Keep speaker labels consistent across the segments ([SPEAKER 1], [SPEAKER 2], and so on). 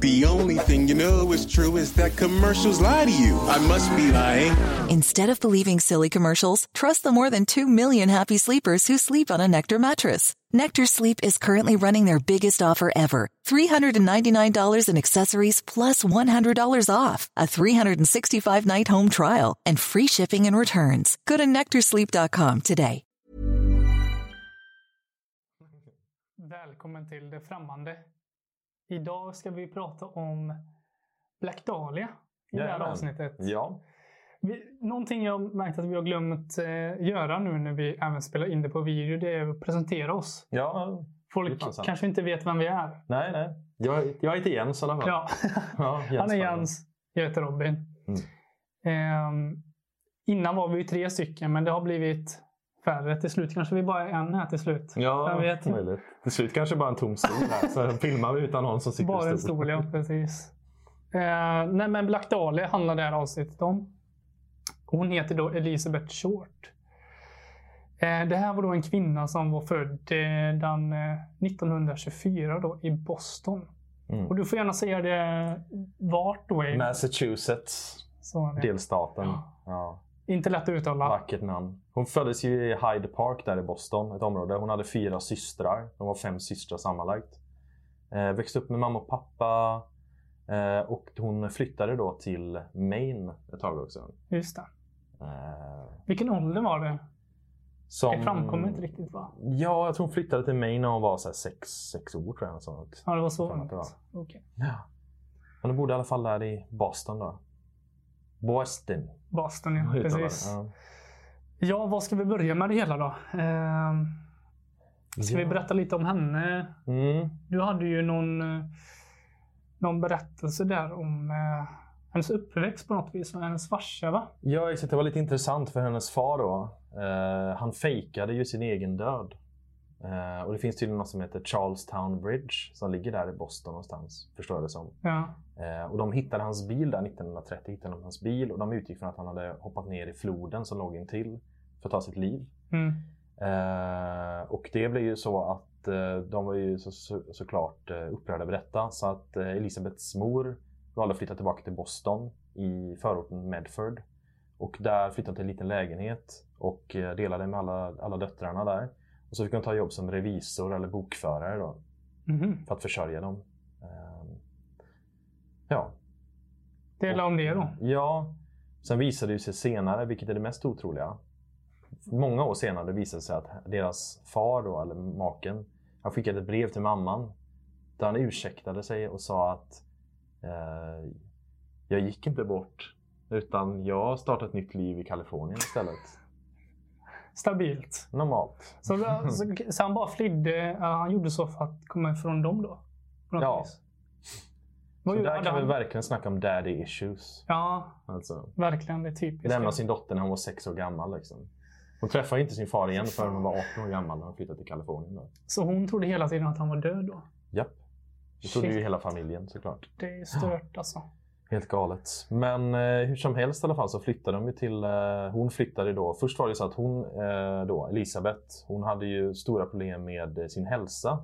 [SPEAKER 1] The only thing you know is true is that commercials lie to you. I must be lying.
[SPEAKER 2] Instead of believing silly commercials, trust the more than 2 million happy sleepers who sleep on a Nectar mattress. Nectar Sleep is currently running their biggest offer ever $399 in accessories plus $100 off, a 365 night home trial, and free shipping and returns. Go to nectarsleep.com today.
[SPEAKER 3] Välkommen till Det Främmande. Idag ska vi prata om Black Dahlia i det
[SPEAKER 4] Jajamän.
[SPEAKER 3] här avsnittet.
[SPEAKER 4] Ja.
[SPEAKER 3] Vi, någonting jag har märkt att vi har glömt eh, göra nu när vi även spelar in det på video, det är att presentera oss.
[SPEAKER 4] ja. Det är
[SPEAKER 3] Folk
[SPEAKER 4] fan sant.
[SPEAKER 3] kanske inte vet vem vi är.
[SPEAKER 4] Nej, nej. Jag, jag heter Jens i alla fall.
[SPEAKER 3] Ja.
[SPEAKER 4] Ja, Jens Mm.
[SPEAKER 3] Han är
[SPEAKER 4] Bergman.
[SPEAKER 3] Jens, jag heter Robin. Ehm, innan var vi ju tre stycken, men det har blivit färre till slut. Kanske vi bara är en här till slut.
[SPEAKER 4] Ja,
[SPEAKER 3] Vem vet?
[SPEAKER 4] möjligt. Till slut kanske bara en tom stol här. Så filmar vi utan någon som sitter
[SPEAKER 3] Bara
[SPEAKER 4] i
[SPEAKER 3] en stol, ja precis. Eh, nej men Black Dahlia handlar det här avsnittet om. Hon heter då Elizabeth Short. Eh, det här var då en kvinna som var född eh, den, eh, 1924 då, i Boston.
[SPEAKER 4] Mm.
[SPEAKER 3] Och du får gärna säga det vart då. är-
[SPEAKER 4] Massachusetts,
[SPEAKER 3] Så är det.
[SPEAKER 4] delstaten.
[SPEAKER 3] Ja.
[SPEAKER 4] Ja.
[SPEAKER 3] Inte lätt att uttala.
[SPEAKER 4] Vackert namn. Hon föddes ju i Hyde Park där i Boston, ett område. Hon hade fyra systrar. De var fem systrar sammanlagt. Eh, växte upp med mamma och pappa. Eh, och hon flyttade då till Maine ett tag också.
[SPEAKER 3] Just det.
[SPEAKER 4] Eh,
[SPEAKER 3] Vilken ålder var det?
[SPEAKER 4] som...
[SPEAKER 3] Det framkommer inte riktigt va?
[SPEAKER 4] Ja, jag tror hon flyttade till Maine när hon var så här sex, sex år tror jag. eller Sånt.
[SPEAKER 3] Ja, det var så
[SPEAKER 4] Jag tror att det
[SPEAKER 3] långt. Okej.
[SPEAKER 4] Ja. Men hon bodde i alla fall där i Boston då. Boston.
[SPEAKER 3] Boston ja,
[SPEAKER 4] uttalar det.
[SPEAKER 3] precis.
[SPEAKER 4] Ja.
[SPEAKER 3] Ja, vad ska vi börja med det hela då? Ehm, ska vi
[SPEAKER 4] Ja.
[SPEAKER 3] berätta lite om henne?
[SPEAKER 4] Mm.
[SPEAKER 3] Du hade ju någon, eh, någon berättelse där om eh, hennes uppväxt på något vis, med hennes farsa va?
[SPEAKER 4] Ja, exakt. Det var lite intressant för hennes far då. Eh, han fejkade ju sin egen död. Eh, och det finns tydligen något som heter Charlestown Bridge som ligger där i Boston någonstans, förstår jag det som.
[SPEAKER 3] Ja,
[SPEAKER 4] Eh, och de hittade hans bil där 1930. Hittade de hans bil och de utgick från att han hade hoppat ner i floden som låg intill för att ta sitt liv.
[SPEAKER 3] mm.
[SPEAKER 4] Eh, och det blev ju så att eh, de var ju så, så, såklart eh, upprörda över detta så att eh, Elisabeths mor valde att flytta tillbaka till Boston i förorten Medford. Och där flyttade hon till en liten lägenhet och eh, delade med alla, alla döttrarna där. Och så fick hon ta jobb som revisor eller bokförare då,
[SPEAKER 3] Mhm.
[SPEAKER 4] för att försörja dem. Eh, ja,
[SPEAKER 3] Det la om det då.
[SPEAKER 4] Ja. Sen visade det sig senare, vilket är det mest otroliga. Många år senare visade det sig att deras far, då, eller maken, han skickade ett brev till mamman. Där han ursäktade sig och sa att eh, jag gick inte bort. Utan jag startade ett nytt liv i Kalifornien istället.
[SPEAKER 3] Stabilt.
[SPEAKER 4] Normalt.
[SPEAKER 3] Så, då- så, så han bara flydde, eller han gjorde så för att komma ifrån dem då? På något
[SPEAKER 4] Ja.
[SPEAKER 3] vis.
[SPEAKER 4] Så
[SPEAKER 3] Vad gjorde
[SPEAKER 4] där kan vi
[SPEAKER 3] han?
[SPEAKER 4] verkligen snacka om daddy issues.
[SPEAKER 3] Ja,
[SPEAKER 4] Alltså,
[SPEAKER 3] verkligen. Det är typiskt.
[SPEAKER 4] lämna sin dotter när hon var sex år gammal. Liksom. Hon träffade inte sin far igen förrän hon var 18 år gammal när hon flyttade till Kalifornien. Då.
[SPEAKER 3] Så hon trodde hela tiden att han var död då?
[SPEAKER 4] Japp. Det trodde ju
[SPEAKER 3] Shit.
[SPEAKER 4] hela familjen såklart.
[SPEAKER 3] Det är stört alltså.
[SPEAKER 4] Helt galet. Men eh, hur som helst i alla fall så flyttade de ju till... Eh, hon flyttade då... Först var det ju så att hon, eh, då, Elisabeth, hon hade ju stora problem med eh, sin hälsa.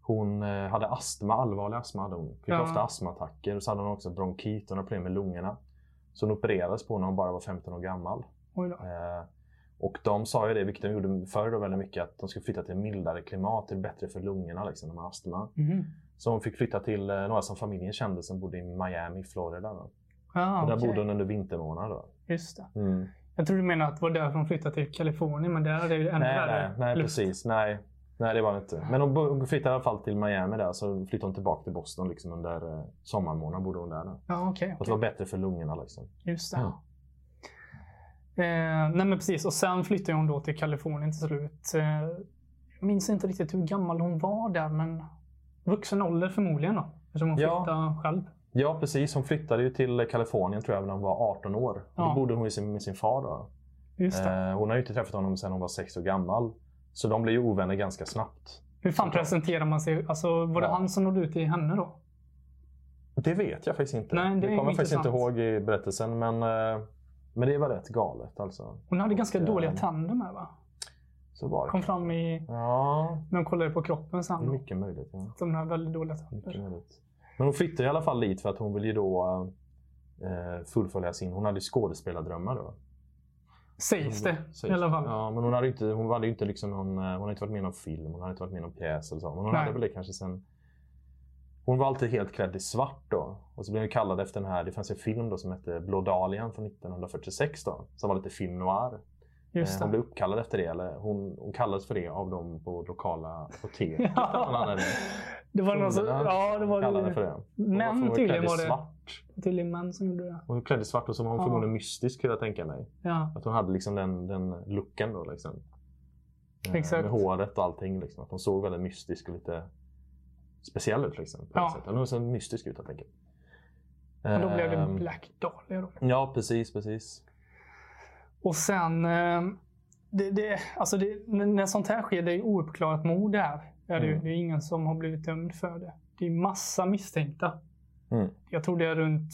[SPEAKER 4] Hon eh, hade astma, allvarlig astma hade hon. Fick
[SPEAKER 3] Ja.
[SPEAKER 4] ofta astmaattacker. Och så hade hon också bronkit och några problem med lungorna. Så hon opererades på när hon bara var 15 år gammal.
[SPEAKER 3] Oj då.
[SPEAKER 4] Eh, Och de sa ju det, vilket de gjorde förr då väldigt mycket, att de skulle flytta till mildare klimat. Det är bättre för lungorna liksom, när man har astma.
[SPEAKER 3] Mhm.
[SPEAKER 4] Så hon fick flytta till eh, några som familjen kände som bodde i Miami, Florida. Då.
[SPEAKER 3] Ah,
[SPEAKER 4] Och där
[SPEAKER 3] okej.
[SPEAKER 4] bodde hon under vintermånaderna. Då.
[SPEAKER 3] Just det.
[SPEAKER 4] Mm.
[SPEAKER 3] Jag tror du menar att det var därför hon flyttade till Kalifornien, men där är det ju ännu
[SPEAKER 4] Nej, nej,
[SPEAKER 3] värre.
[SPEAKER 4] nej,
[SPEAKER 3] luft.
[SPEAKER 4] precis. Nej. nej, det var det inte. Men hon bo- hon flyttade i alla fall till Miami där. Så flyttade hon tillbaka till Boston liksom, under eh, sommarmånaderna. Bodde hon där. Då.
[SPEAKER 3] Ja, okej.
[SPEAKER 4] Och det var bättre för lungorna. Liksom.
[SPEAKER 3] Just det.
[SPEAKER 4] Ja.
[SPEAKER 3] Eh, nej, men precis. Och sen flyttade hon då till Kalifornien till slut. Eh, jag minns inte riktigt hur gammal hon var där, men vuxen ålder förmodligen då. Eftersom hon
[SPEAKER 4] Ja.
[SPEAKER 3] flyttade själv.
[SPEAKER 4] Ja, precis. Hon flyttade ju till Kalifornien tror jag när hon var 18 år. Och
[SPEAKER 3] Ja.
[SPEAKER 4] Då bodde hon ju sin- med sin far då.
[SPEAKER 3] Just det.
[SPEAKER 4] Eh, hon har ju inte träffat honom sedan hon var sex år gammal. Så de blev ju ovänner ganska snabbt.
[SPEAKER 3] Hur fan presenterar man sig? Alltså, var det
[SPEAKER 4] Ja.
[SPEAKER 3] han som nådde ut till henne då?
[SPEAKER 4] Det vet jag faktiskt inte.
[SPEAKER 3] Nej, det är
[SPEAKER 4] kommer jag faktiskt inte
[SPEAKER 3] intressant.
[SPEAKER 4] ihåg i berättelsen. Men, eh, men det var rätt galet alltså.
[SPEAKER 3] Hon hade ganska
[SPEAKER 4] Och,
[SPEAKER 3] dåliga
[SPEAKER 4] eh,
[SPEAKER 3] tänder med va?
[SPEAKER 4] Så var
[SPEAKER 3] Kom
[SPEAKER 4] det.
[SPEAKER 3] fram i...
[SPEAKER 4] Ja,
[SPEAKER 3] När de kollade på kroppen
[SPEAKER 4] det är
[SPEAKER 3] sen.
[SPEAKER 4] mycket möjligt. Ja.
[SPEAKER 3] De har väldigt dåliga
[SPEAKER 4] Mycket
[SPEAKER 3] tänder.
[SPEAKER 4] möjligt. Men hon flyttade i alla fall dit för att hon ville ju då eh, fullfölja sin... Hon hade ju skådespelardrömmar då.
[SPEAKER 3] Sägs det
[SPEAKER 4] Sägs
[SPEAKER 3] i alla fall.
[SPEAKER 4] Ja, men hon hade ju inte, hon hade ju inte, liksom någon, eh, hon hade inte varit med i någon film, hon hade inte varit med i någon pjäs eller så. Men hon
[SPEAKER 3] Nej.
[SPEAKER 4] hade väl det kanske sen... Hon var alltid helt klädd i svart då. Och så blev hon kallad efter den här, det fanns en film då som hette Blå Dahlian från 1946 då. Som var lite film noir. Eh,
[SPEAKER 3] Just
[SPEAKER 4] Hon blev
[SPEAKER 3] det.
[SPEAKER 4] uppkallad efter det, eller hon, hon kallades för det av dem på lokala hotell. Hon
[SPEAKER 3] Ja.
[SPEAKER 4] hade-
[SPEAKER 3] Det var någon som...
[SPEAKER 4] kunderna
[SPEAKER 3] Ja, det var...
[SPEAKER 4] kallade för det. Hon var- hon
[SPEAKER 3] Män
[SPEAKER 4] var
[SPEAKER 3] tydligen
[SPEAKER 4] klädd i
[SPEAKER 3] var det.
[SPEAKER 4] Svart.
[SPEAKER 3] Tydligen män som gjorde det.
[SPEAKER 4] Hon var klädd i svart och så var hon
[SPEAKER 3] Ja.
[SPEAKER 4] förmodligen mystisk skulle jag tänka mig.
[SPEAKER 3] Ja.
[SPEAKER 4] Att hon hade liksom den, den looken då. Liksom. Eh,
[SPEAKER 3] Exakt.
[SPEAKER 4] Med håret och allting. Liksom. Att hon såg väldigt mystisk och lite speciell ut. Liksom, på
[SPEAKER 3] Ja.
[SPEAKER 4] ja. sätt. Eller Hon såg mystisk ut helt enkelt.
[SPEAKER 3] Och då blev det
[SPEAKER 4] Ehm,
[SPEAKER 3] Black Dahlia då.
[SPEAKER 4] Ja, precis. precis.
[SPEAKER 3] Och sen, eh, det, det, alltså det, när när sånt här sker, det är ju ouppklarat mord det här. Det är, ju,
[SPEAKER 4] Mm.
[SPEAKER 3] det är ingen som har blivit dömd för det. Det är massa misstänkta.
[SPEAKER 4] Mm.
[SPEAKER 3] Jag tror det är runt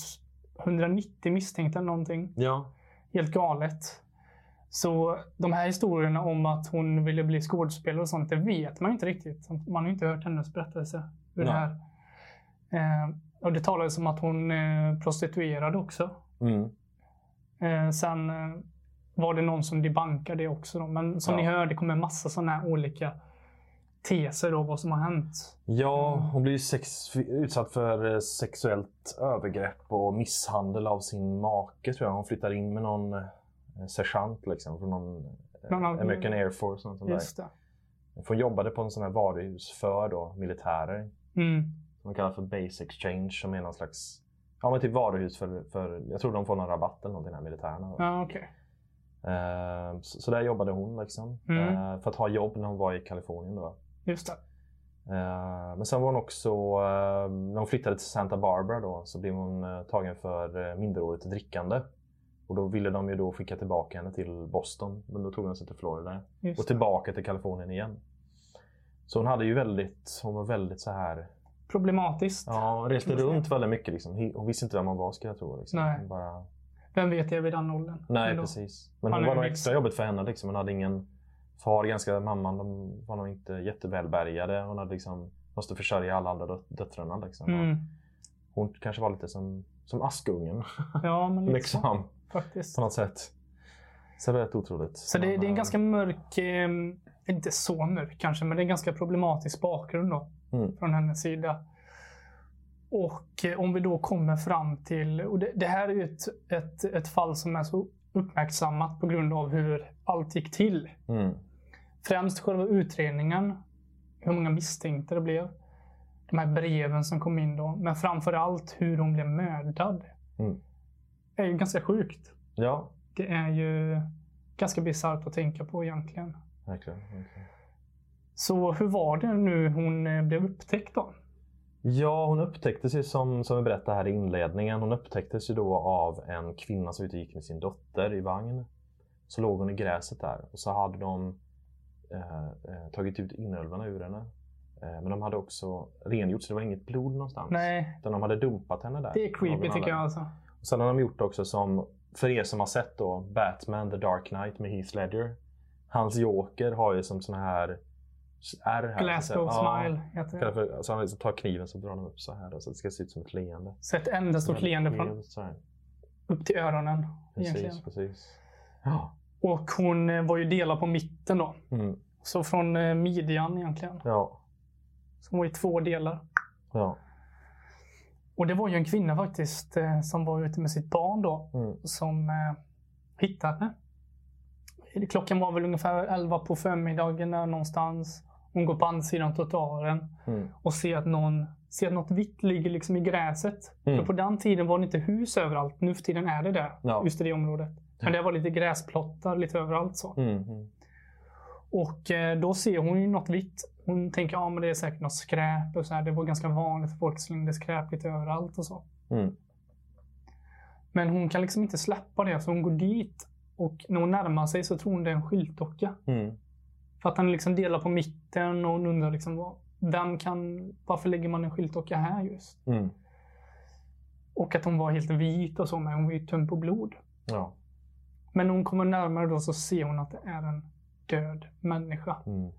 [SPEAKER 3] 190 misstänkta eller någonting.
[SPEAKER 4] Ja.
[SPEAKER 3] Helt galet. Så de här historierna om att hon ville bli skådespelare och sånt, det vet man ju inte riktigt. Man har ju inte hört hennes berättelse. Ur det
[SPEAKER 4] Nej.
[SPEAKER 3] här. Eh, och det talades om att hon eh, prostituerade också.
[SPEAKER 4] Mm.
[SPEAKER 3] Eh, sen eh, var det någon som debankade det också. Då. Men som
[SPEAKER 4] Ja.
[SPEAKER 3] ni hör, det kommer massa sådana här olika teser då, vad som har hänt.
[SPEAKER 4] Ja,
[SPEAKER 3] Mm.
[SPEAKER 4] hon blir ju sex, utsatt för eh, sexuellt övergrepp och misshandel av sin make tror jag. Hon flyttar in med någon eh, sergeant liksom, från någon eh,
[SPEAKER 3] Någon av-
[SPEAKER 4] American Air Force. Något sånt där.
[SPEAKER 3] Just det.
[SPEAKER 4] För Hon jobbade på en sån här varuhus för då, militärer.
[SPEAKER 3] Mm.
[SPEAKER 4] Som de kallar för Base Exchange som är någon slags ja, men typ varuhus för, för, jag tror de får någon rabatt eller någonting, de här militärerna.
[SPEAKER 3] Ja, okej.
[SPEAKER 4] Eh, så, så där jobbade hon liksom.
[SPEAKER 3] Mm.
[SPEAKER 4] Eh, för att ha jobb när hon var i Kalifornien då.
[SPEAKER 3] Just det.
[SPEAKER 4] Eh, Men sen var hon också, eh, när hon flyttade till Santa Barbara då, så blev hon eh, tagen för eh, minderårigt drickande. Och då ville de ju då skicka tillbaka henne till Boston, men då tog hon sig till Florida
[SPEAKER 3] Just
[SPEAKER 4] och
[SPEAKER 3] det.
[SPEAKER 4] tillbaka till Kalifornien igen. Så hon hade ju väldigt, hon var väldigt så här,
[SPEAKER 3] Problematiskt.
[SPEAKER 4] ja, hon reste
[SPEAKER 3] Kan man säga.
[SPEAKER 4] runt väldigt mycket liksom. Hi- Hon visste inte vem hon var skulle jag tro. Liksom.
[SPEAKER 3] Nej.
[SPEAKER 4] Hon bara,
[SPEAKER 3] Vem vet det vid den åldern?
[SPEAKER 4] nej
[SPEAKER 3] Ändå.
[SPEAKER 4] precis. Men
[SPEAKER 3] Han
[SPEAKER 4] hon
[SPEAKER 3] är
[SPEAKER 4] var nog
[SPEAKER 3] mix.
[SPEAKER 4] extra jobbigt för henne liksom. Hon hade ingen far, ganska mamman, de var nog inte jättevälbärgade. Hon hade liksom, måste försörja alla andra dö- döttrarna liksom.
[SPEAKER 3] Mm.
[SPEAKER 4] Hon kanske var lite som, som Askungen.
[SPEAKER 3] Ja, men lite så,
[SPEAKER 4] liksom,
[SPEAKER 3] faktiskt.
[SPEAKER 4] på något sätt. Så det är rätt otroligt.
[SPEAKER 3] Så det,
[SPEAKER 4] Men,
[SPEAKER 3] det är en
[SPEAKER 4] eh,
[SPEAKER 3] ganska mörk, eh, inte så mörk kanske, men det är en ganska problematisk bakgrund då,
[SPEAKER 4] Mm.
[SPEAKER 3] från hennes sida. Och eh, om vi då kommer fram till, och det, det här är ju ett, ett, ett fall som är så uppmärksammat på grund av hur allt gick till.
[SPEAKER 4] Mm,
[SPEAKER 3] Främst själva utredningen, hur många misstänkta det blev, de här breven som kom in då, men framför allt hur hon blev mördad.
[SPEAKER 4] Mm.
[SPEAKER 3] Det är ju ganska sjukt.
[SPEAKER 4] ja,
[SPEAKER 3] Det är ju ganska bisarrt att tänka på egentligen.
[SPEAKER 4] verkligen. verkligen.
[SPEAKER 3] Så hur var det nu hon eh, blev upptäckt då?
[SPEAKER 4] Ja, hon upptäcktes ju som, som vi berättade här i inledningen. Hon upptäcktes ju då av en kvinna som ute gick med sin dotter i vagn. Så låg hon i gräset där och så hade de eh, eh, tagit ut inälvorna ur henne. Eh, men de hade också rengjort så det var inget blod någonstans.
[SPEAKER 3] Nej,
[SPEAKER 4] Utan de hade dumpat henne där.
[SPEAKER 3] det är
[SPEAKER 4] av
[SPEAKER 3] creepy
[SPEAKER 4] någon
[SPEAKER 3] tycker
[SPEAKER 4] anledning.
[SPEAKER 3] jag alltså.
[SPEAKER 4] Och sen har de gjort också som, för er som har sett då, Batman The Dark Knight med Heath Ledger. Hans joker har ju som såna här ärr här.
[SPEAKER 3] Glasgow
[SPEAKER 4] Så- ja,
[SPEAKER 3] smile heter
[SPEAKER 4] kallar
[SPEAKER 3] det.
[SPEAKER 4] för- Så han liksom tar kniven så drar han upp så här då, så att det ska se ut som ett leende.
[SPEAKER 3] Så ett enda stort leende från
[SPEAKER 4] Så här.
[SPEAKER 3] upp till öronen. egentligen.
[SPEAKER 4] Precis, precis. Ja.
[SPEAKER 3] Och hon eh, var ju delad på mitten då.
[SPEAKER 4] Mm,
[SPEAKER 3] Så från eh, midjan egentligen.
[SPEAKER 4] ja.
[SPEAKER 3] Så hon var i två delar.
[SPEAKER 4] Ja.
[SPEAKER 3] Och det var ju en kvinna faktiskt eh, som var ute med sitt barn då.
[SPEAKER 4] Mm.
[SPEAKER 3] Som eh, hittade henne. Klockan var väl ungefär 11 på förmiddagen där någonstans. Hon går på andra sidan trottoaren.
[SPEAKER 4] Mm.
[SPEAKER 3] och se att, någon, se att något vitt ligger liksom i gräset.
[SPEAKER 4] Mm.
[SPEAKER 3] För på den tiden var det inte hus överallt. Nu för tiden är det det.
[SPEAKER 4] Ja.
[SPEAKER 3] Just i det området. Men det var lite gräsplottar lite överallt. Så.
[SPEAKER 4] Mm. Mm.
[SPEAKER 3] Och eh, då ser hon ju något vitt. Hon tänker att ja, men det är säkert något skräp. Och så här. Det var ganska vanligt att folk slängde skräp lite överallt. och så.
[SPEAKER 4] Mm.
[SPEAKER 3] Men hon kan liksom inte släppa det, så hon går dit och när hon närmar sig så tror hon det är en skyltdocka.
[SPEAKER 4] Mm.
[SPEAKER 3] För att han liksom delar på mitten och hon undrar liksom vad, vem kan, varför lägger man en skyltdocka här just?
[SPEAKER 4] Mm.
[SPEAKER 3] Och att hon var helt vit och så, men hon var ju tömd på blod.
[SPEAKER 4] Ja.
[SPEAKER 3] Men när hon kommer närmare då så ser hon att det är en död människa.
[SPEAKER 4] Mm.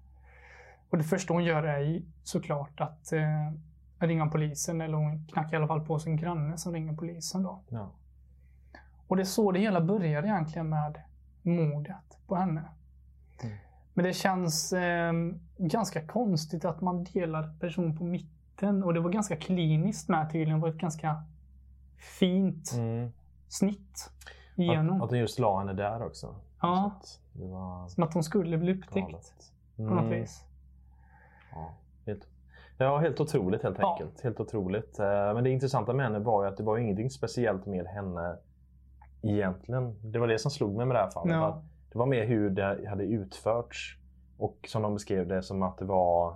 [SPEAKER 3] Och det första hon gör är ju såklart att eh, ringa polisen, eller hon knackar i alla fall på sin granne som ringer polisen då.
[SPEAKER 4] Ja.
[SPEAKER 3] Och det är så det hela började egentligen med mordet på henne.
[SPEAKER 4] Mm.
[SPEAKER 3] Men det känns eh, ganska konstigt att man delar person på mitten. Och det var ganska kliniskt med tydligen. Det var ett ganska fint
[SPEAKER 4] Mm.
[SPEAKER 3] snitt
[SPEAKER 4] Att,
[SPEAKER 3] igenom.
[SPEAKER 4] att de just la henne där också.
[SPEAKER 3] Ja.
[SPEAKER 4] Så att det var
[SPEAKER 3] Som att hon skulle bli upptäckt
[SPEAKER 4] galet.
[SPEAKER 3] på något
[SPEAKER 4] Mm.
[SPEAKER 3] vis.
[SPEAKER 4] Ja, helt, ja, helt otroligt helt
[SPEAKER 3] Ja.
[SPEAKER 4] enkelt. Helt otroligt. Eh, Men det intressanta med henne var ju att det var ju ingenting speciellt med henne egentligen. Det var det som slog mig med det här fallet.
[SPEAKER 3] Ja.
[SPEAKER 4] Att det var mer hur det hade utförts och som de beskrev det som att det var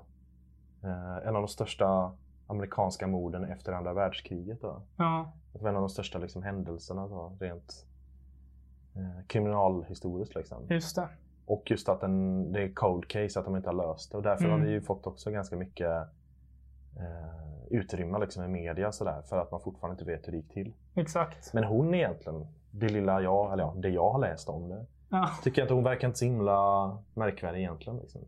[SPEAKER 4] eh, en av de största amerikanska morden efter andra världskriget. Då.
[SPEAKER 3] Ja,
[SPEAKER 4] Det var en av de största liksom, händelserna då, rent eh, kriminalhistoriskt. Liksom.
[SPEAKER 3] just det.
[SPEAKER 4] Och just att den, det är cold case, att de inte har löst det. Och därför
[SPEAKER 3] Mm.
[SPEAKER 4] har det ju fått också ganska mycket eh, utrymme liksom, i media sådär, för att man fortfarande inte vet hur det gick till.
[SPEAKER 3] Exakt.
[SPEAKER 4] Men hon egentligen, det lilla jag, eller ja, det jag har läst om det,
[SPEAKER 3] Ja.
[SPEAKER 4] tycker jag att hon verkar inte så himla märkvärdig egentligen. Liksom.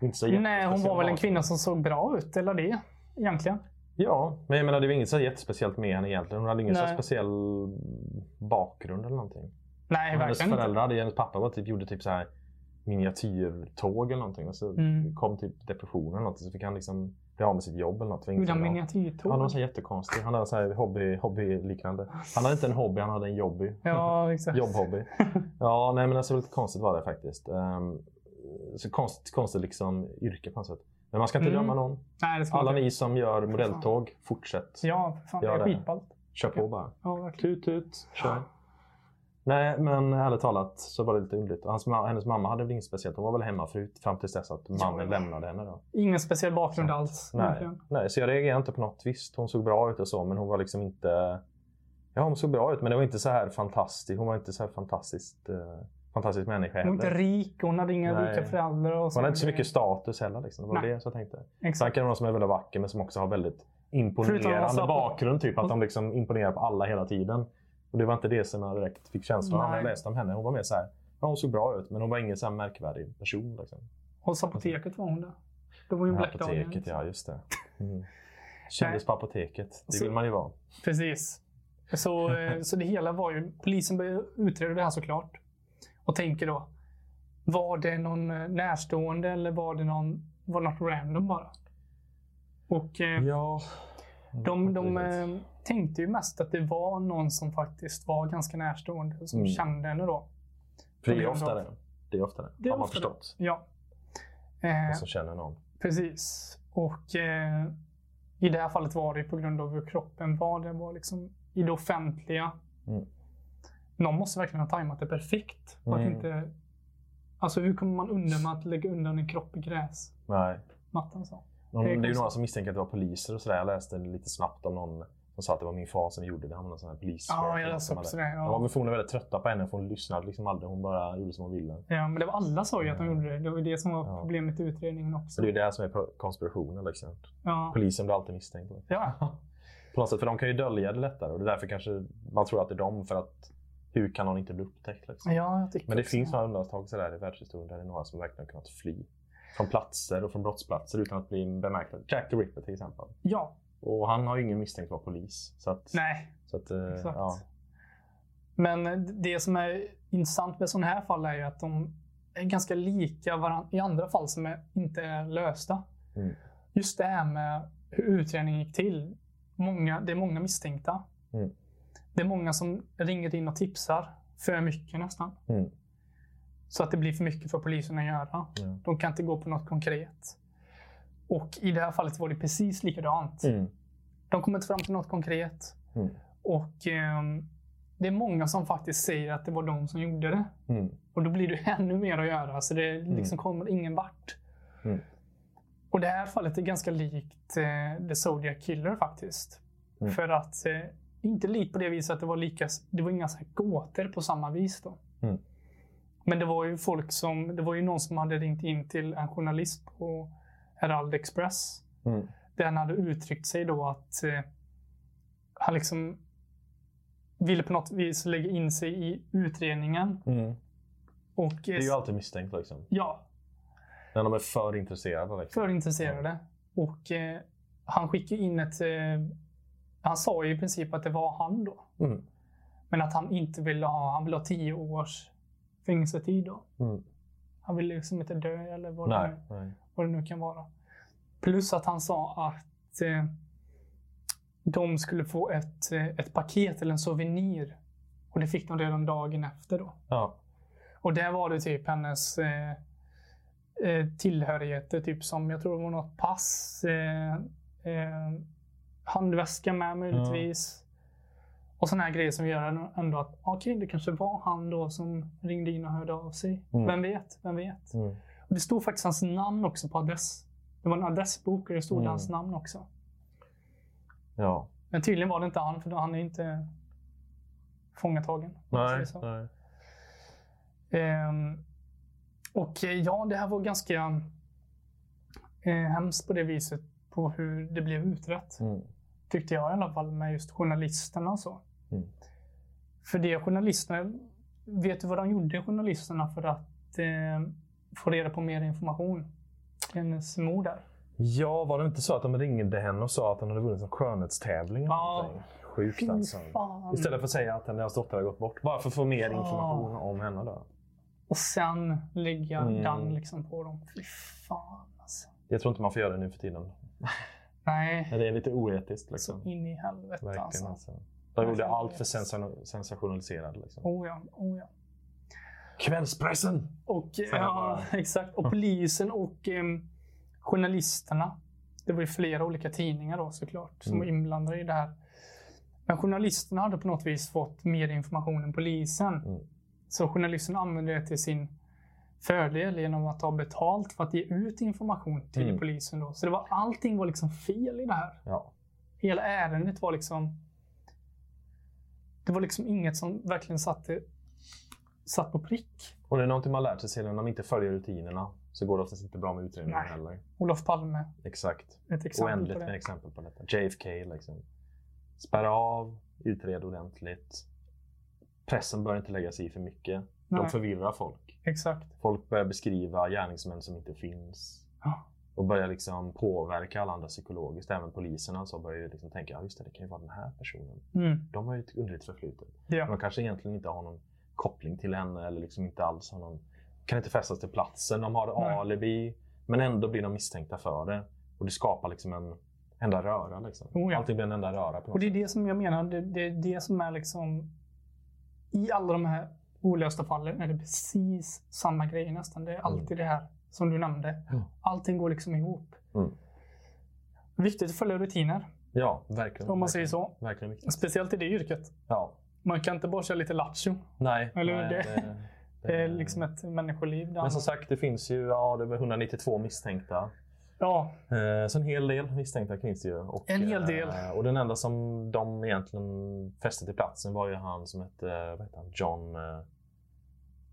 [SPEAKER 4] Inte så
[SPEAKER 3] Nej, hon var väl en
[SPEAKER 4] jättespeciell.
[SPEAKER 3] kvinna som såg bra ut, eller det egentligen.
[SPEAKER 4] Ja, men jag menar det var inget så jättespeciellt med henne egentligen. Hon hade ingen så
[SPEAKER 3] Nej.
[SPEAKER 4] speciell bakgrund eller någonting.
[SPEAKER 3] Nej,
[SPEAKER 4] hennes
[SPEAKER 3] verkligen inte.
[SPEAKER 4] föräldrar, hade, hennes pappa var typ, gjorde typ så här miniatyrtåg eller någonting. Och så
[SPEAKER 3] Mm.
[SPEAKER 4] kom typ depressionen eller något. Så fick han liksom bli av med sitt jobb eller något. Det var inte
[SPEAKER 3] Gjorde
[SPEAKER 4] så
[SPEAKER 3] han
[SPEAKER 4] bra. Ja,
[SPEAKER 3] miniatyrtåg?
[SPEAKER 4] han var så här jättekonstig. Han hade så här hobby, hobby-liknande. Han hade inte en hobby, han hade en jobby.
[SPEAKER 3] Ja, exakt.
[SPEAKER 4] Jobbhobby. Ja, nej men alltså lite konstigt var det faktiskt. Ehm, så konstigt, konstigt liksom yrke på något sätt. Men man ska inte
[SPEAKER 3] Mm.
[SPEAKER 4] döma någon.
[SPEAKER 3] Nej, det ska
[SPEAKER 4] Alla
[SPEAKER 3] man inte.
[SPEAKER 4] ni som gör modelltåg, fortsätt.
[SPEAKER 3] Ja, för fan. Det
[SPEAKER 4] Gör
[SPEAKER 3] är
[SPEAKER 4] det.
[SPEAKER 3] skitballt.
[SPEAKER 4] Kör på bara.
[SPEAKER 3] Ja, verkligen.
[SPEAKER 4] Tut tut, kör. Nej, men ärligt talat så var det lite underligt. Hans, ma- hennes mamma hade väl inget speciellt. Hon var väl hemma förut fram tills dess att mannen lämnade henne. Då.
[SPEAKER 3] Ingen speciell bakgrund alls.
[SPEAKER 4] Nej,
[SPEAKER 3] verkligen.
[SPEAKER 4] nej, så jag reagerade inte på något. Visst, hon såg bra ut och så, men hon var liksom inte... Ja, hon såg bra ut, men det var inte så här fantastiskt. Hon var inte så här fantastiskt, eh, fantastisk människa
[SPEAKER 3] Hon var inte
[SPEAKER 4] heller.
[SPEAKER 3] rik, hon hade inga
[SPEAKER 4] Nej.
[SPEAKER 3] rika föräldrar. Och
[SPEAKER 4] Hon hade inte så
[SPEAKER 3] grejer.
[SPEAKER 4] mycket status heller. Liksom. Det var
[SPEAKER 3] Nej.
[SPEAKER 4] det som jag tänkte. Sen
[SPEAKER 3] Exakt.
[SPEAKER 4] kan det vara någon som är väldigt vacker, men som också har väldigt
[SPEAKER 3] Förutom att Mm. de
[SPEAKER 4] imponerande
[SPEAKER 3] slappnar-
[SPEAKER 4] bakgrund. Typ att de liksom imponerar på alla hela tiden. Och det var inte det som jag direkt fick känslan av när jag
[SPEAKER 3] Nej.
[SPEAKER 4] läste om henne. Hon var mer så här, ja hon såg bra ut, men hon var ingen så här märkvärdig person. Liksom.
[SPEAKER 3] Hos apoteket var hon där. Det var ju en Black Dahlia.
[SPEAKER 4] apoteket, ja just det. Mm. Kändes på apoteket. Det
[SPEAKER 3] Så-
[SPEAKER 4] vill man ju vara.
[SPEAKER 3] Precis. Så, eh, så det hela var ju... Polisen började utreda det här såklart. Och tänker då. Var det någon eh, närstående eller var det någon... Var det något random bara? Och eh,
[SPEAKER 4] Ja.
[SPEAKER 3] de, de eh, tänkte ju mest att det var någon som faktiskt var ganska närstående. Som
[SPEAKER 4] Mm.
[SPEAKER 3] kände henne då.
[SPEAKER 4] För det är ofta det. Det är ofta det.
[SPEAKER 3] Det är
[SPEAKER 4] har man
[SPEAKER 3] ofta det.
[SPEAKER 4] förstått. Alltså-
[SPEAKER 3] Ja. Eh,
[SPEAKER 4] Och så känner någon.
[SPEAKER 3] Precis. Och eh, i det här fallet var det på grund av hur kroppen var. Det var liksom i det offentliga.
[SPEAKER 4] Mm.
[SPEAKER 3] Någon måste verkligen ha tajmat det perfekt. Och att
[SPEAKER 4] Mm.
[SPEAKER 3] inte, alltså hur kommer man undan med att lägga undan en kropp i gräsmattan?
[SPEAKER 4] Nej.
[SPEAKER 3] Så?
[SPEAKER 4] Någon,
[SPEAKER 3] Det är
[SPEAKER 4] det är ju
[SPEAKER 3] konstigt.
[SPEAKER 4] några som misstänker att det var poliser och sådär. Jag läste lite snabbt om någon som sa att det var min far som gjorde det. Han var någon sån här polis.
[SPEAKER 3] Ja, jag läste också det.
[SPEAKER 4] Ja.
[SPEAKER 3] Ja.
[SPEAKER 4] men för hon är väldigt trötta på henne för hon lyssnade liksom aldrig. Hon bara gjorde som hon ville.
[SPEAKER 3] Ja, men det var alla sa ju att de gjorde det. Det var ju det som var
[SPEAKER 4] Mm. Ja.
[SPEAKER 3] problemet i utredningen
[SPEAKER 4] Så
[SPEAKER 3] också.
[SPEAKER 4] det är ju det här som är pro- konspirationen. Liksom.
[SPEAKER 3] Ja.
[SPEAKER 4] Polisen blir alltid misstänkt.
[SPEAKER 3] Ja.
[SPEAKER 4] På något sätt, för de kan ju dölja det lättare och det är därför kanske man tror att det är dem. För att hur kan någon inte bli upptäckt? Liksom?
[SPEAKER 3] ja, jag tycker
[SPEAKER 4] Men det
[SPEAKER 3] också
[SPEAKER 4] finns några undantag sådär i världshistorien där det är några som verkligen har kunnat fly. Från platser och från brottsplatser utan att bli bemärkta. Jack the Ripper till exempel.
[SPEAKER 3] Ja,
[SPEAKER 4] Och han har ju ingen misstänkt för att vara polis. Så att,
[SPEAKER 3] nej.
[SPEAKER 4] Så att, eh,
[SPEAKER 3] Exakt.
[SPEAKER 4] Ja.
[SPEAKER 3] Men det som är intressant med sådana här fall är ju att de är ganska lika varandra i andra fall som är, inte är lösta.
[SPEAKER 4] Mm.
[SPEAKER 3] Just det här med hur utredningen gick till. Många, det är många misstänkta.
[SPEAKER 4] Mm.
[SPEAKER 3] Det är många som ringer in och tipsar. För mycket nästan.
[SPEAKER 4] Mm.
[SPEAKER 3] Så att det blir för mycket för polisen att göra.
[SPEAKER 4] Ja.
[SPEAKER 3] De kan inte gå på något konkret. Och i det här fallet var det precis likadant.
[SPEAKER 4] Mm.
[SPEAKER 3] De kommer inte fram till något konkret.
[SPEAKER 4] Mm.
[SPEAKER 3] Och ehm, det är många som faktiskt säger att det var de som gjorde det.
[SPEAKER 4] Mm.
[SPEAKER 3] Och då blir det ännu mer att göra. Så det liksom kommer ingen vart.
[SPEAKER 4] Mm.
[SPEAKER 3] Och det här fallet är ganska likt eh, The Zodiac Killer faktiskt.
[SPEAKER 4] Mm.
[SPEAKER 3] För att eh, inte likt på det viset att det var, lika, det var inga så här gåtor på samma vis. Då.
[SPEAKER 4] Mm.
[SPEAKER 3] Men det var ju folk som, det var ju någon som hade ringt in till en journalist på Herald Express.
[SPEAKER 4] Mm.
[SPEAKER 3] Där han hade uttryckt sig då att eh, han liksom ville på något vis lägga in sig i utredningen.
[SPEAKER 4] Mm.
[SPEAKER 3] Och, eh,
[SPEAKER 4] Det är ju alltid misstänkt liksom.
[SPEAKER 3] ja,
[SPEAKER 4] När de är för intresserade. Liksom.
[SPEAKER 3] för intresserade. Och eh, han skickade in ett... Eh, han sa ju i princip att det var han då.
[SPEAKER 4] Mm.
[SPEAKER 3] Men att han inte ville ha... Han ville ha tio års fängelsetid då.
[SPEAKER 4] Mm.
[SPEAKER 3] Han ville liksom inte dö eller vad,
[SPEAKER 4] Nej.
[SPEAKER 3] det,
[SPEAKER 4] Nej.
[SPEAKER 3] vad det nu kan vara. Plus att han sa att eh, de skulle få ett, eh, ett paket eller en souvenir. Och det fick de redan dagen efter då.
[SPEAKER 4] Ja.
[SPEAKER 3] Och där var det typ hennes eh, eh, tillhörigheter, typ som jag tror det var något pass, eh, eh, handväska med möjligtvis. Och sådana här grejer som gör ändå att okej, det kanske var han då som ringde in och hörde av sig.
[SPEAKER 4] Mm.
[SPEAKER 3] Vem vet? Vem vet?
[SPEAKER 4] Mm.
[SPEAKER 3] Och det stod faktiskt hans namn också på adress. Det var en adressbok och det stod
[SPEAKER 4] Mm.
[SPEAKER 3] hans namn också.
[SPEAKER 4] ja.
[SPEAKER 3] Men tydligen var det inte han, för då- han är inte fångatagen. om man säger
[SPEAKER 4] Nej.
[SPEAKER 3] så.
[SPEAKER 4] Nej.
[SPEAKER 3] Ehm, och eh, ja, det här var ganska eh, hemskt på det viset på hur det blev utrett.
[SPEAKER 4] Mm.
[SPEAKER 3] Tyckte jag i alla fall med just journalisterna och så.
[SPEAKER 4] Mm.
[SPEAKER 3] För det journalisterna, vet du vad de gjorde journalisterna för att eh, få reda på mer information? till Hennes mor där.
[SPEAKER 4] Ja, var det inte så att de ringde henne och sa att han hade vunnit en skönhetstävling? eller
[SPEAKER 3] Ja.
[SPEAKER 4] någonting? Sjukt
[SPEAKER 3] Ah. Fy
[SPEAKER 4] alltså.
[SPEAKER 3] fan. Ah.
[SPEAKER 4] Istället för att säga att hennes dotter har gått bort. Bara för att få mer information om henne då.
[SPEAKER 3] Och sen lägga
[SPEAKER 4] Mm.
[SPEAKER 3] den liksom på dem. Fy fan alltså.
[SPEAKER 4] Jag tror inte man får göra det nu för tiden.
[SPEAKER 3] Nej,
[SPEAKER 4] Men Det är lite oetiskt
[SPEAKER 3] så
[SPEAKER 4] liksom.
[SPEAKER 3] in i helvete
[SPEAKER 4] Verkligen
[SPEAKER 3] alltså.
[SPEAKER 4] alltså. De gjorde allt för sensa- sensationaliserad. Liksom.
[SPEAKER 3] Oh ja, oh ja.
[SPEAKER 4] Kvällspressen!
[SPEAKER 3] Och,
[SPEAKER 4] här
[SPEAKER 3] ja,
[SPEAKER 4] bara.
[SPEAKER 3] exakt. och polisen och em, journalisterna. Det var ju flera olika tidningar då såklart som
[SPEAKER 4] Mm.
[SPEAKER 3] var inblandade i det här. Men journalisterna hade på något vis fått mer information än polisen.
[SPEAKER 4] Mm.
[SPEAKER 3] Så journalisterna använde det till sin fördel genom att ta betalt för att ge ut information till
[SPEAKER 4] Mm.
[SPEAKER 3] polisen. Då. Så det var, allting var liksom fel i det här.
[SPEAKER 4] Ja.
[SPEAKER 3] Hela ärendet var liksom... Det var liksom inget som verkligen satte, satt på prick.
[SPEAKER 4] Och det är någonting man lärt sig sedan. När man inte följer rutinerna så går det oftast inte bra med utredningen
[SPEAKER 3] Nej.
[SPEAKER 4] heller.
[SPEAKER 3] Olof Palme
[SPEAKER 4] Exakt.
[SPEAKER 3] ett exempel
[SPEAKER 4] Oändligt
[SPEAKER 3] på
[SPEAKER 4] med
[SPEAKER 3] det.
[SPEAKER 4] exempel på detta. JFK liksom. Spärra av, utred ordentligt. Pressen bör inte lägga sig i för mycket.
[SPEAKER 3] Nej.
[SPEAKER 4] De förvirrar folk.
[SPEAKER 3] Exakt.
[SPEAKER 4] Folk börjar beskriva gärningsmän som inte finns.
[SPEAKER 3] Ja.
[SPEAKER 4] Och börjar liksom påverka alla andra psykologiskt. Även poliserna så börjar ju liksom tänka, ja just det, det kan ju vara den här personen.
[SPEAKER 3] Mm.
[SPEAKER 4] De har ju ett underligt förflutet.
[SPEAKER 3] Ja.
[SPEAKER 4] De kanske egentligen inte har någon koppling till henne eller liksom inte alls har någon, kan inte fästas till platsen. De har
[SPEAKER 3] Nej.
[SPEAKER 4] alibi, men ändå blir de misstänkta för det. Och det skapar liksom en enda röra. Liksom.
[SPEAKER 3] Oh ja.
[SPEAKER 4] Allting blir en enda röra.
[SPEAKER 3] Och
[SPEAKER 4] På något
[SPEAKER 3] det är
[SPEAKER 4] sätt.
[SPEAKER 3] det som jag menar. Det, det är det som är liksom... I alla de här olösta fallen är det precis samma grej nästan.
[SPEAKER 4] Mm.
[SPEAKER 3] Det är alltid det här som du nämnde.
[SPEAKER 4] Ja.
[SPEAKER 3] Allting går liksom ihop.
[SPEAKER 4] Mm.
[SPEAKER 3] Viktigt att följa rutiner,
[SPEAKER 4] Ja, verkligen.
[SPEAKER 3] om man
[SPEAKER 4] verkligen.
[SPEAKER 3] säger så.
[SPEAKER 4] Verkligen viktigt.
[SPEAKER 3] Speciellt i det yrket.
[SPEAKER 4] Ja.
[SPEAKER 3] Man kan inte bara köra lite lattjo.
[SPEAKER 4] Nej.
[SPEAKER 3] Eller
[SPEAKER 4] nej,
[SPEAKER 3] det- Det är liksom ett människoliv. Där.
[SPEAKER 4] Eh. Men som sagt, det finns ju ja, det var 192 misstänkta.
[SPEAKER 3] Ja,
[SPEAKER 4] Eh, Så en hel del misstänkta finns det ju. Och,
[SPEAKER 3] En hel del.
[SPEAKER 4] eh, Och den enda som de egentligen fäste till platsen var ju han som hette, eh, vad hette han, John... eh,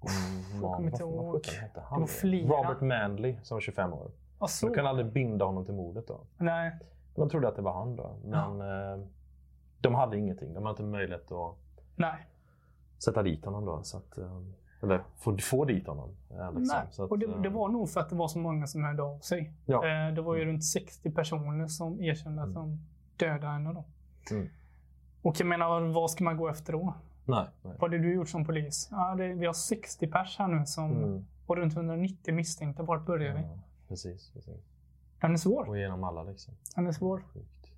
[SPEAKER 3] jag
[SPEAKER 4] Mann-
[SPEAKER 3] kommer inte
[SPEAKER 4] vad- vad
[SPEAKER 3] ihåg.
[SPEAKER 4] sjutton hette
[SPEAKER 3] Det var
[SPEAKER 4] han?
[SPEAKER 3] flera.
[SPEAKER 4] Robert Manley som var 25 år.
[SPEAKER 3] och
[SPEAKER 4] Så
[SPEAKER 3] så.
[SPEAKER 4] de kan aldrig binda honom till mordet då.
[SPEAKER 3] Nej.
[SPEAKER 4] De trodde att det var han då. Men eh, de hade ingenting. De hade inte möjlighet att
[SPEAKER 3] Nej.
[SPEAKER 4] sätta dit honom då. Så att, eh, eller få, få dit honom. eh, Liksom.
[SPEAKER 3] Nej.
[SPEAKER 4] Så att,
[SPEAKER 3] och det,
[SPEAKER 4] eh,
[SPEAKER 3] det var nog för att det var så många som hörde av sig.
[SPEAKER 4] Ja. Mm.
[SPEAKER 3] Eh, Det var ju runt 60 personer som erkände att de dödade henne. Då.
[SPEAKER 4] Mm.
[SPEAKER 3] Och jag menar, vad ska man gå efter då?
[SPEAKER 4] Nej. nej.
[SPEAKER 3] Vad har du gjort som polis? Ja, det, vi har 60 pers här nu som,
[SPEAKER 4] Mm.
[SPEAKER 3] och runt 190 misstänkta. Vart börjar vi?
[SPEAKER 4] Ja, precis, precis.
[SPEAKER 3] Den är svår.
[SPEAKER 4] Och igenom alla liksom.
[SPEAKER 3] Den är svår.
[SPEAKER 4] Sjukt.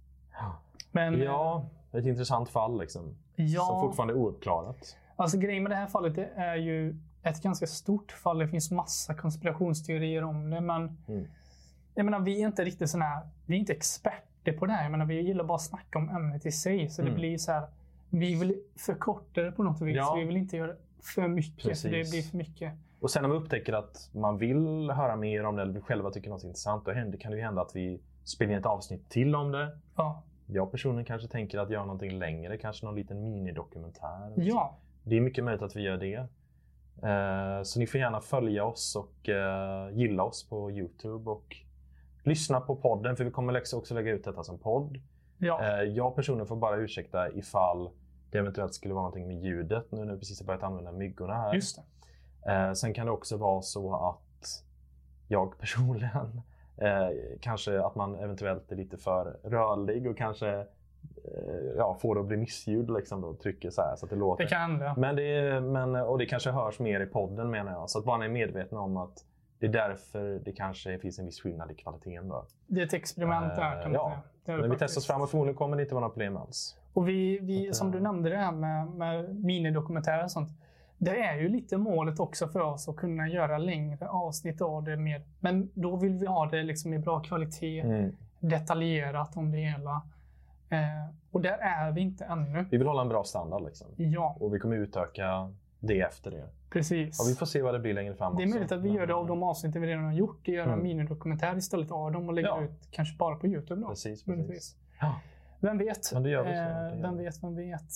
[SPEAKER 3] Men
[SPEAKER 4] Ja, ett intressant fall liksom.
[SPEAKER 3] Ja.
[SPEAKER 4] Som fortfarande är ouppklarat.
[SPEAKER 3] alltså, grejen med det här fallet det är ju ett ganska stort fall. Det finns massa konspirationsteorier om det. Men
[SPEAKER 4] Mm.
[SPEAKER 3] jag menar, vi är inte riktigt såna här, vi är inte experter på det här. Jag menar, vi gillar bara att snacka om ämnet i sig. Så det
[SPEAKER 4] Mm.
[SPEAKER 3] blir så här, vi vill förkorta det på något vis.
[SPEAKER 4] Ja.
[SPEAKER 3] Vi vill inte göra för mycket. För det
[SPEAKER 4] Precis.
[SPEAKER 3] blir för mycket.
[SPEAKER 4] Och sen om vi upptäcker att man vill höra mer om det eller vi själva tycker något är intressant, då händer, kan det ju hända att vi spelar in ett avsnitt till om det.
[SPEAKER 3] Ja,
[SPEAKER 4] Jag personligen kanske tänker att göra någonting längre, kanske någon liten minidokumentär. eller så.
[SPEAKER 3] Ja,
[SPEAKER 4] Det är mycket möjligt att vi gör det. Eh, Så ni får gärna följa oss och eh, gilla oss på Youtube och lyssna på podden för vi kommer läx- också lägga ut detta som podd.
[SPEAKER 3] ja.
[SPEAKER 4] Eh, Jag personligen får bara ursäkta ifall det eventuellt skulle vara någonting med ljudet nu när vi precis har börjat använda myggorna här.
[SPEAKER 3] just det.
[SPEAKER 4] Eh, sen kan det också vara så att jag personligen eh, kanske att man eventuellt är lite för rörlig och kanske eh, ja, får det att bli missljud liksom då, trycker så här så att det låter.
[SPEAKER 3] Det kan hända.
[SPEAKER 4] Men det, är- men, och det kanske hörs mer i podden menar jag. Så att man är medveten om att det är därför det kanske finns en viss skillnad i kvaliteten. Då.
[SPEAKER 3] Det är ett experiment det här kan man
[SPEAKER 4] Eh,
[SPEAKER 3] säga.
[SPEAKER 4] ja.
[SPEAKER 3] Det är det
[SPEAKER 4] Men vi
[SPEAKER 3] faktiskt.
[SPEAKER 4] testar oss fram och förmodligen kommer det inte vara några problem alls.
[SPEAKER 3] Och vi, vi,
[SPEAKER 4] Att,
[SPEAKER 3] som du
[SPEAKER 4] eh,
[SPEAKER 3] nämnde det här med, med minidokumentärer och sånt. Det är ju lite målet också för oss att kunna göra längre avsnitt av det. Mer. Men då vill vi ha det liksom i bra kvalitet,
[SPEAKER 4] Mm.
[SPEAKER 3] detaljerat om det hela. Eh, och där är vi inte ännu.
[SPEAKER 4] Vi vill hålla en bra standard liksom.
[SPEAKER 3] Ja,
[SPEAKER 4] Och vi kommer utöka det efter det.
[SPEAKER 3] precis.
[SPEAKER 4] Ja, vi får se vad det blir längre fram.
[SPEAKER 3] Det är
[SPEAKER 4] också.
[SPEAKER 3] möjligt att vi
[SPEAKER 4] Men-
[SPEAKER 3] gör det av de avsnitten vi redan har gjort. Göra en
[SPEAKER 4] Mm.
[SPEAKER 3] minidokumentär istället av dem och lägga
[SPEAKER 4] Ja.
[SPEAKER 3] ut kanske bara på Youtube. Då,
[SPEAKER 4] Precis,
[SPEAKER 3] möjligtvis.
[SPEAKER 4] precis. Ja.
[SPEAKER 3] Vem vet?
[SPEAKER 4] Men det gör vi så.
[SPEAKER 3] Eh,
[SPEAKER 4] Det gör
[SPEAKER 3] vem
[SPEAKER 4] vi.
[SPEAKER 3] vet, vem vet.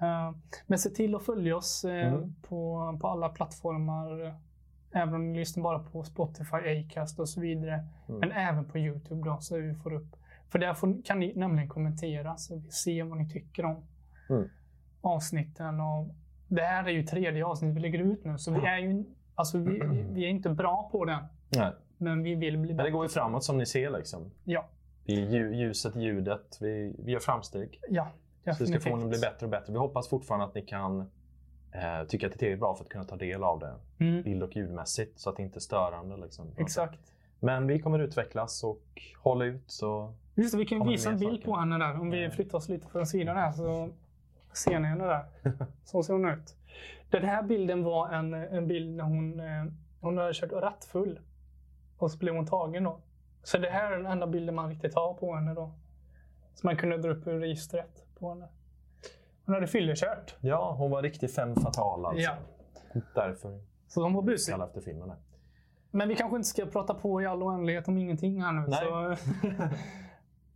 [SPEAKER 4] Mm.
[SPEAKER 3] Eh, Men se till att följa oss eh,
[SPEAKER 4] Mm.
[SPEAKER 3] på, på alla plattformar. Även om ni lyssnar bara på Spotify, Acast och så vidare.
[SPEAKER 4] Mm.
[SPEAKER 3] Men även på Youtube då, så vi får upp. För där får, kan ni nämligen kommentera så vi ser vad ni tycker om
[SPEAKER 4] Mm.
[SPEAKER 3] avsnitten. Och det här är ju tredje avsnittet vi lägger ut nu, så
[SPEAKER 4] Mm.
[SPEAKER 3] vi är ju alltså vi, vi- vi är inte bra på den.
[SPEAKER 4] Nej.
[SPEAKER 3] Men vi vill bli
[SPEAKER 4] Men det
[SPEAKER 3] bättre.
[SPEAKER 4] går ju framåt som ni ser liksom.
[SPEAKER 3] Ja,
[SPEAKER 4] Det är lju- ljuset, ljudet. Vi, vi gör framsteg.
[SPEAKER 3] ja.
[SPEAKER 4] Så det ska
[SPEAKER 3] definitivt.
[SPEAKER 4] förmodligen bli bättre och bättre. Vi hoppas fortfarande att ni kan eh, tycka att det är tillräckligt bra för att kunna ta del av det
[SPEAKER 3] Mm,
[SPEAKER 4] bild och ljudmässigt så att det inte är störande. Liksom,
[SPEAKER 3] exakt.
[SPEAKER 4] Men vi kommer utvecklas och hålla ut. Så
[SPEAKER 3] Just det, vi kan
[SPEAKER 4] Kommer
[SPEAKER 3] visa
[SPEAKER 4] det
[SPEAKER 3] en
[SPEAKER 4] mer
[SPEAKER 3] bild
[SPEAKER 4] saker?
[SPEAKER 3] på henne där. Om vi
[SPEAKER 4] Ja.
[SPEAKER 3] flyttar oss lite från sidan här så ser ni henne där. Så ser hon ut. Den här bilden var en, en bild när hon, eh, hon hade kört rattfull. Och så blev hon tagen då. Så det här är den enda bilden man riktigt har på henne då. Som man kunde dra upp ur registret på henne. Hon hade fyllekört.
[SPEAKER 4] ja, hon var riktigt fem fatal alltså.
[SPEAKER 3] Ja.
[SPEAKER 4] Därför
[SPEAKER 3] Så hon var busig.
[SPEAKER 4] kallar efter filmen. det.
[SPEAKER 3] Men vi kanske inte ska prata på i all oändlighet om ingenting här nu.
[SPEAKER 4] Nej.
[SPEAKER 3] Så, eh,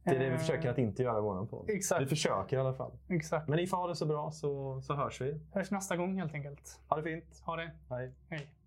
[SPEAKER 4] Det är det vi försöker att inte göra i våran podd.
[SPEAKER 3] Exakt.
[SPEAKER 4] Vi försöker i alla fall.
[SPEAKER 3] exakt.
[SPEAKER 4] Men ni får ha det så bra så, så hörs vi.
[SPEAKER 3] Hörs nästa gång helt enkelt.
[SPEAKER 4] Ha det fint.
[SPEAKER 3] Ha det.
[SPEAKER 4] Hej.
[SPEAKER 3] Hej.